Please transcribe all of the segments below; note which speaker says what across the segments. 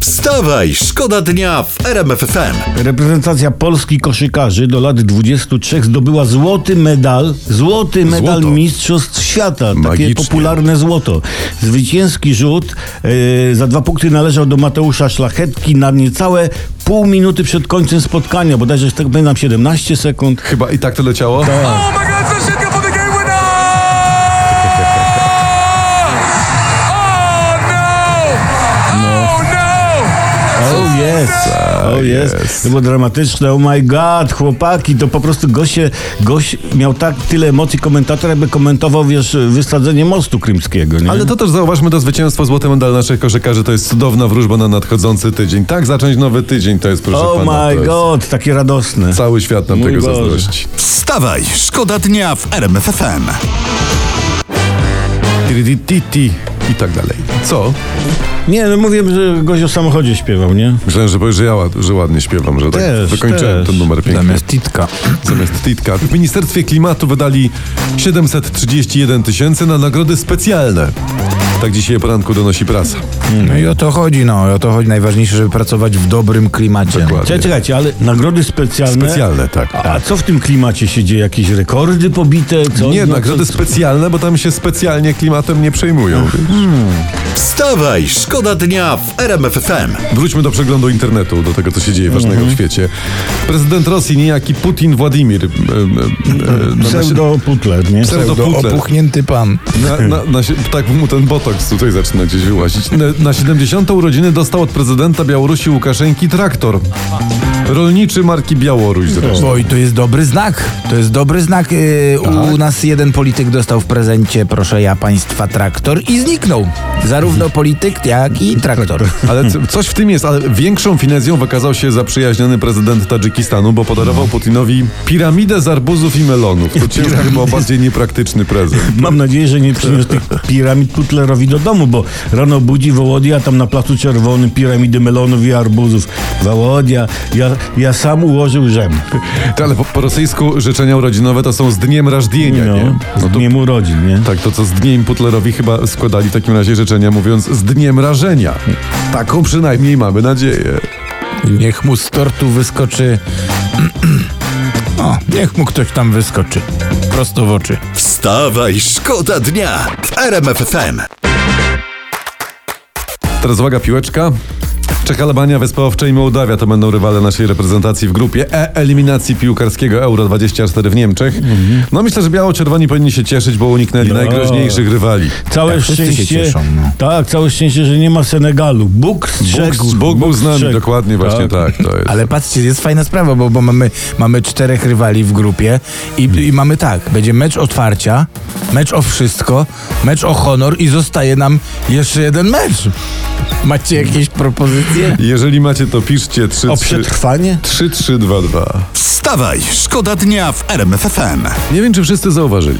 Speaker 1: Wstawaj, szkoda dnia w RMFFM.
Speaker 2: Reprezentacja Polski koszykarzy do lat 23 zdobyła złoty medal, złoty medal
Speaker 3: Złoto.
Speaker 2: Mistrzostw Świata, takie
Speaker 3: Magicznie.
Speaker 2: popularne złoto. Zwycięski rzut e, za dwa punkty należał do Mateusza Szlachetki na niecałe pół minuty przed końcem spotkania, bodajże, że tak pamiętam, 17 sekund.
Speaker 3: Chyba i tak to leciało?
Speaker 1: No.
Speaker 4: Oh my God, it's a shit for the game winner! Oh no! Oh no!
Speaker 2: Oh
Speaker 3: tak.
Speaker 2: yes, oh yes. To było dramatyczne, oh my god, chłopaki, to po prostu goście, gość miał tak tyle emocji komentator, jakby komentował, wiesz, wysadzenie mostu krymskiego, nie?
Speaker 3: Ale to też zauważmy, to zwycięstwo złoty medal naszych koszykarzy to jest cudowna wróżba na nadchodzący tydzień. Tak zacząć nowy tydzień to jest, proszę
Speaker 2: Oh
Speaker 3: pana. to
Speaker 2: my
Speaker 3: jest-
Speaker 2: god, takie radosne.
Speaker 3: Cały świat nam
Speaker 2: Mój
Speaker 3: tego
Speaker 2: Boże.
Speaker 3: zazdrości.
Speaker 1: Wstawaj, szkoda dnia w RMFFM.
Speaker 3: Tiridititi I tak dalej. Co?
Speaker 2: Nie, no mówię, że gość o samochodzie śpiewał, nie?
Speaker 3: Myślałem, że powiesz, że ja ład- że ładnie śpiewam, że tak
Speaker 2: Też,
Speaker 3: wykończyłem
Speaker 2: też.
Speaker 3: ten numer pięknie.
Speaker 5: Zamiast titka.
Speaker 3: Zamiast titka. W Ministerstwie Klimatu wydali 731 tysięcy na nagrody specjalne. Tak dzisiaj o poranku donosi prasa.
Speaker 5: No i o to chodzi, no. O to chodzi. Najważniejsze, żeby pracować w dobrym klimacie.
Speaker 3: Dokładnie.
Speaker 2: Czekaj, czekajcie, ale nagrody specjalne.
Speaker 3: Specjalne, tak.
Speaker 2: A, a co w tym klimacie się dzieje? Jakieś rekordy pobite? Co?
Speaker 3: Nie,
Speaker 2: No,
Speaker 3: nagrody
Speaker 2: co-
Speaker 3: specjalne, bo tam się specjalnie klimatem nie przejmują.
Speaker 1: Wstawaj, szkoda dnia w RMFFM.
Speaker 3: Wróćmy do przeglądu internetu, do tego, co się dzieje ważnego
Speaker 5: Mhm.
Speaker 3: w świecie. Prezydent Rosji, niejaki Putin Władimir, em, em, em, na-
Speaker 2: Pseudo-putler, nie?
Speaker 5: Do
Speaker 3: pseudo-Putler,
Speaker 5: opuchnięty pan.
Speaker 3: Na, na, na, si- tak mu ten botoks tutaj zaczyna gdzieś wyłazić. Na, na 70. urodziny dostał od prezydenta Białorusi Łukaszenki traktor. Rolniczy marki Białoruś zresztą.
Speaker 5: Oj, to jest dobry znak. To jest dobry znak. Yy,
Speaker 3: Tak.
Speaker 5: U nas jeden polityk dostał w prezencie, proszę ja państwa, traktor i zniknął. Zarówno polityk, jak i traktor.
Speaker 3: Ale co- coś w tym jest, ale większą finezją wykazał się zaprzyjaźniony prezydent Tadżykistanu, bo podarował Putinowi piramidę z arbuzów i melonów. To ciężko chyba bardziej niepraktyczny prezent.
Speaker 2: Mam nadzieję, że nie przyniósł tych piramid Putlerowi do domu, bo rano budzi Wołodia, tam na Placu Czerwonym piramidy melonów i arbuzów. Wołodia, ja, ja sam ułożył rzem.
Speaker 3: Ty, Ale po, po rosyjsku życzenia urodzinowe to są z dniem rażdienia,
Speaker 2: No,
Speaker 3: nie?
Speaker 2: z
Speaker 3: No to,
Speaker 2: dniem urodzin, nie?
Speaker 3: tak, to co z dniem Putlerowi chyba składali w takim razie życzenia, mówiąc z dniem rażenia. Taką przynajmniej mamy nadzieję.
Speaker 5: Niech mu z tortu wyskoczy. O, niech mu ktoś tam wyskoczy. Prosto w oczy.
Speaker 1: Wstawaj, szkoda dnia w RMFFM.
Speaker 3: Teraz uwaga, piłeczka. Czeka Albania, Wyspa Owcza i Mołdawia to będą rywale naszej reprezentacji w grupie E eliminacji piłkarskiego Euro 24 w Niemczech. No myślę, że biało-czerwoni powinni się cieszyć, bo uniknęli
Speaker 2: No.
Speaker 3: najgroźniejszych rywali.
Speaker 2: Całe
Speaker 5: Tak, wszyscy się
Speaker 2: szczęście.
Speaker 5: cieszą, no.
Speaker 2: Tak, całe szczęście, że nie ma Senegalu. Bóg
Speaker 3: Bóg,
Speaker 2: strzegł.
Speaker 3: Bóg był z nami,
Speaker 2: strzegł.
Speaker 3: dokładnie właśnie tak. to jest.
Speaker 5: Ale patrzcie, jest fajna sprawa, bo, bo mamy, mamy czterech rywali w grupie i, i mamy tak, będzie mecz otwarcia, mecz o wszystko, mecz o honor i zostaje nam jeszcze jeden mecz. Macie jakieś propozycje?
Speaker 3: Jeżeli macie, to piszcie
Speaker 2: O
Speaker 3: 3-3.
Speaker 2: przetrwanie?
Speaker 3: 3-3-2-2.
Speaker 1: Wstawaj, szkoda dnia w RMFFM.
Speaker 3: Nie wiem, czy wszyscy zauważyli.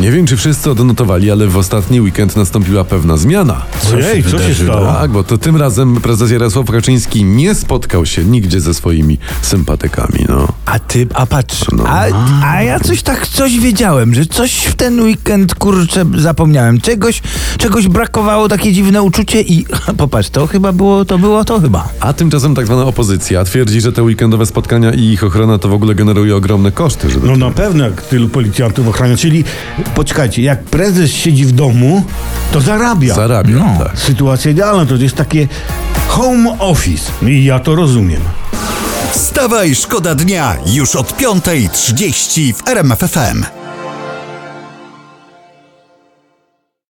Speaker 3: Nie wiem, czy wszyscy odnotowali, ale w ostatni weekend nastąpiła pewna zmiana.
Speaker 2: Ojej, co się stało?
Speaker 3: Tak, bo to tym razem prezes Jarosław Kaczyński nie spotkał się nigdzie ze swoimi sympatykami, no.
Speaker 5: A ty, a patrz, a, a ja coś tak, coś wiedziałem, że coś w ten weekend, kurczę, zapomniałem, czegoś, czegoś brakowało, takie dziwne uczucie i popatrz, to chyba było, to było, to chyba.
Speaker 3: A tymczasem tak zwana opozycja twierdzi, że te weekendowe spotkania i ich ochrona to w ogóle generuje ogromne koszty. Że...
Speaker 2: No na pewno, jak tylu policjantów ochrania. Czyli poczekajcie, jak prezes siedzi w domu, to zarabia.
Speaker 3: Zarabia,
Speaker 5: No.
Speaker 3: tak.
Speaker 2: Sytuacja idealna, to jest takie home office. I ja to rozumiem.
Speaker 1: Wstawaj, szkoda dnia już od 5.30 w RMFFM.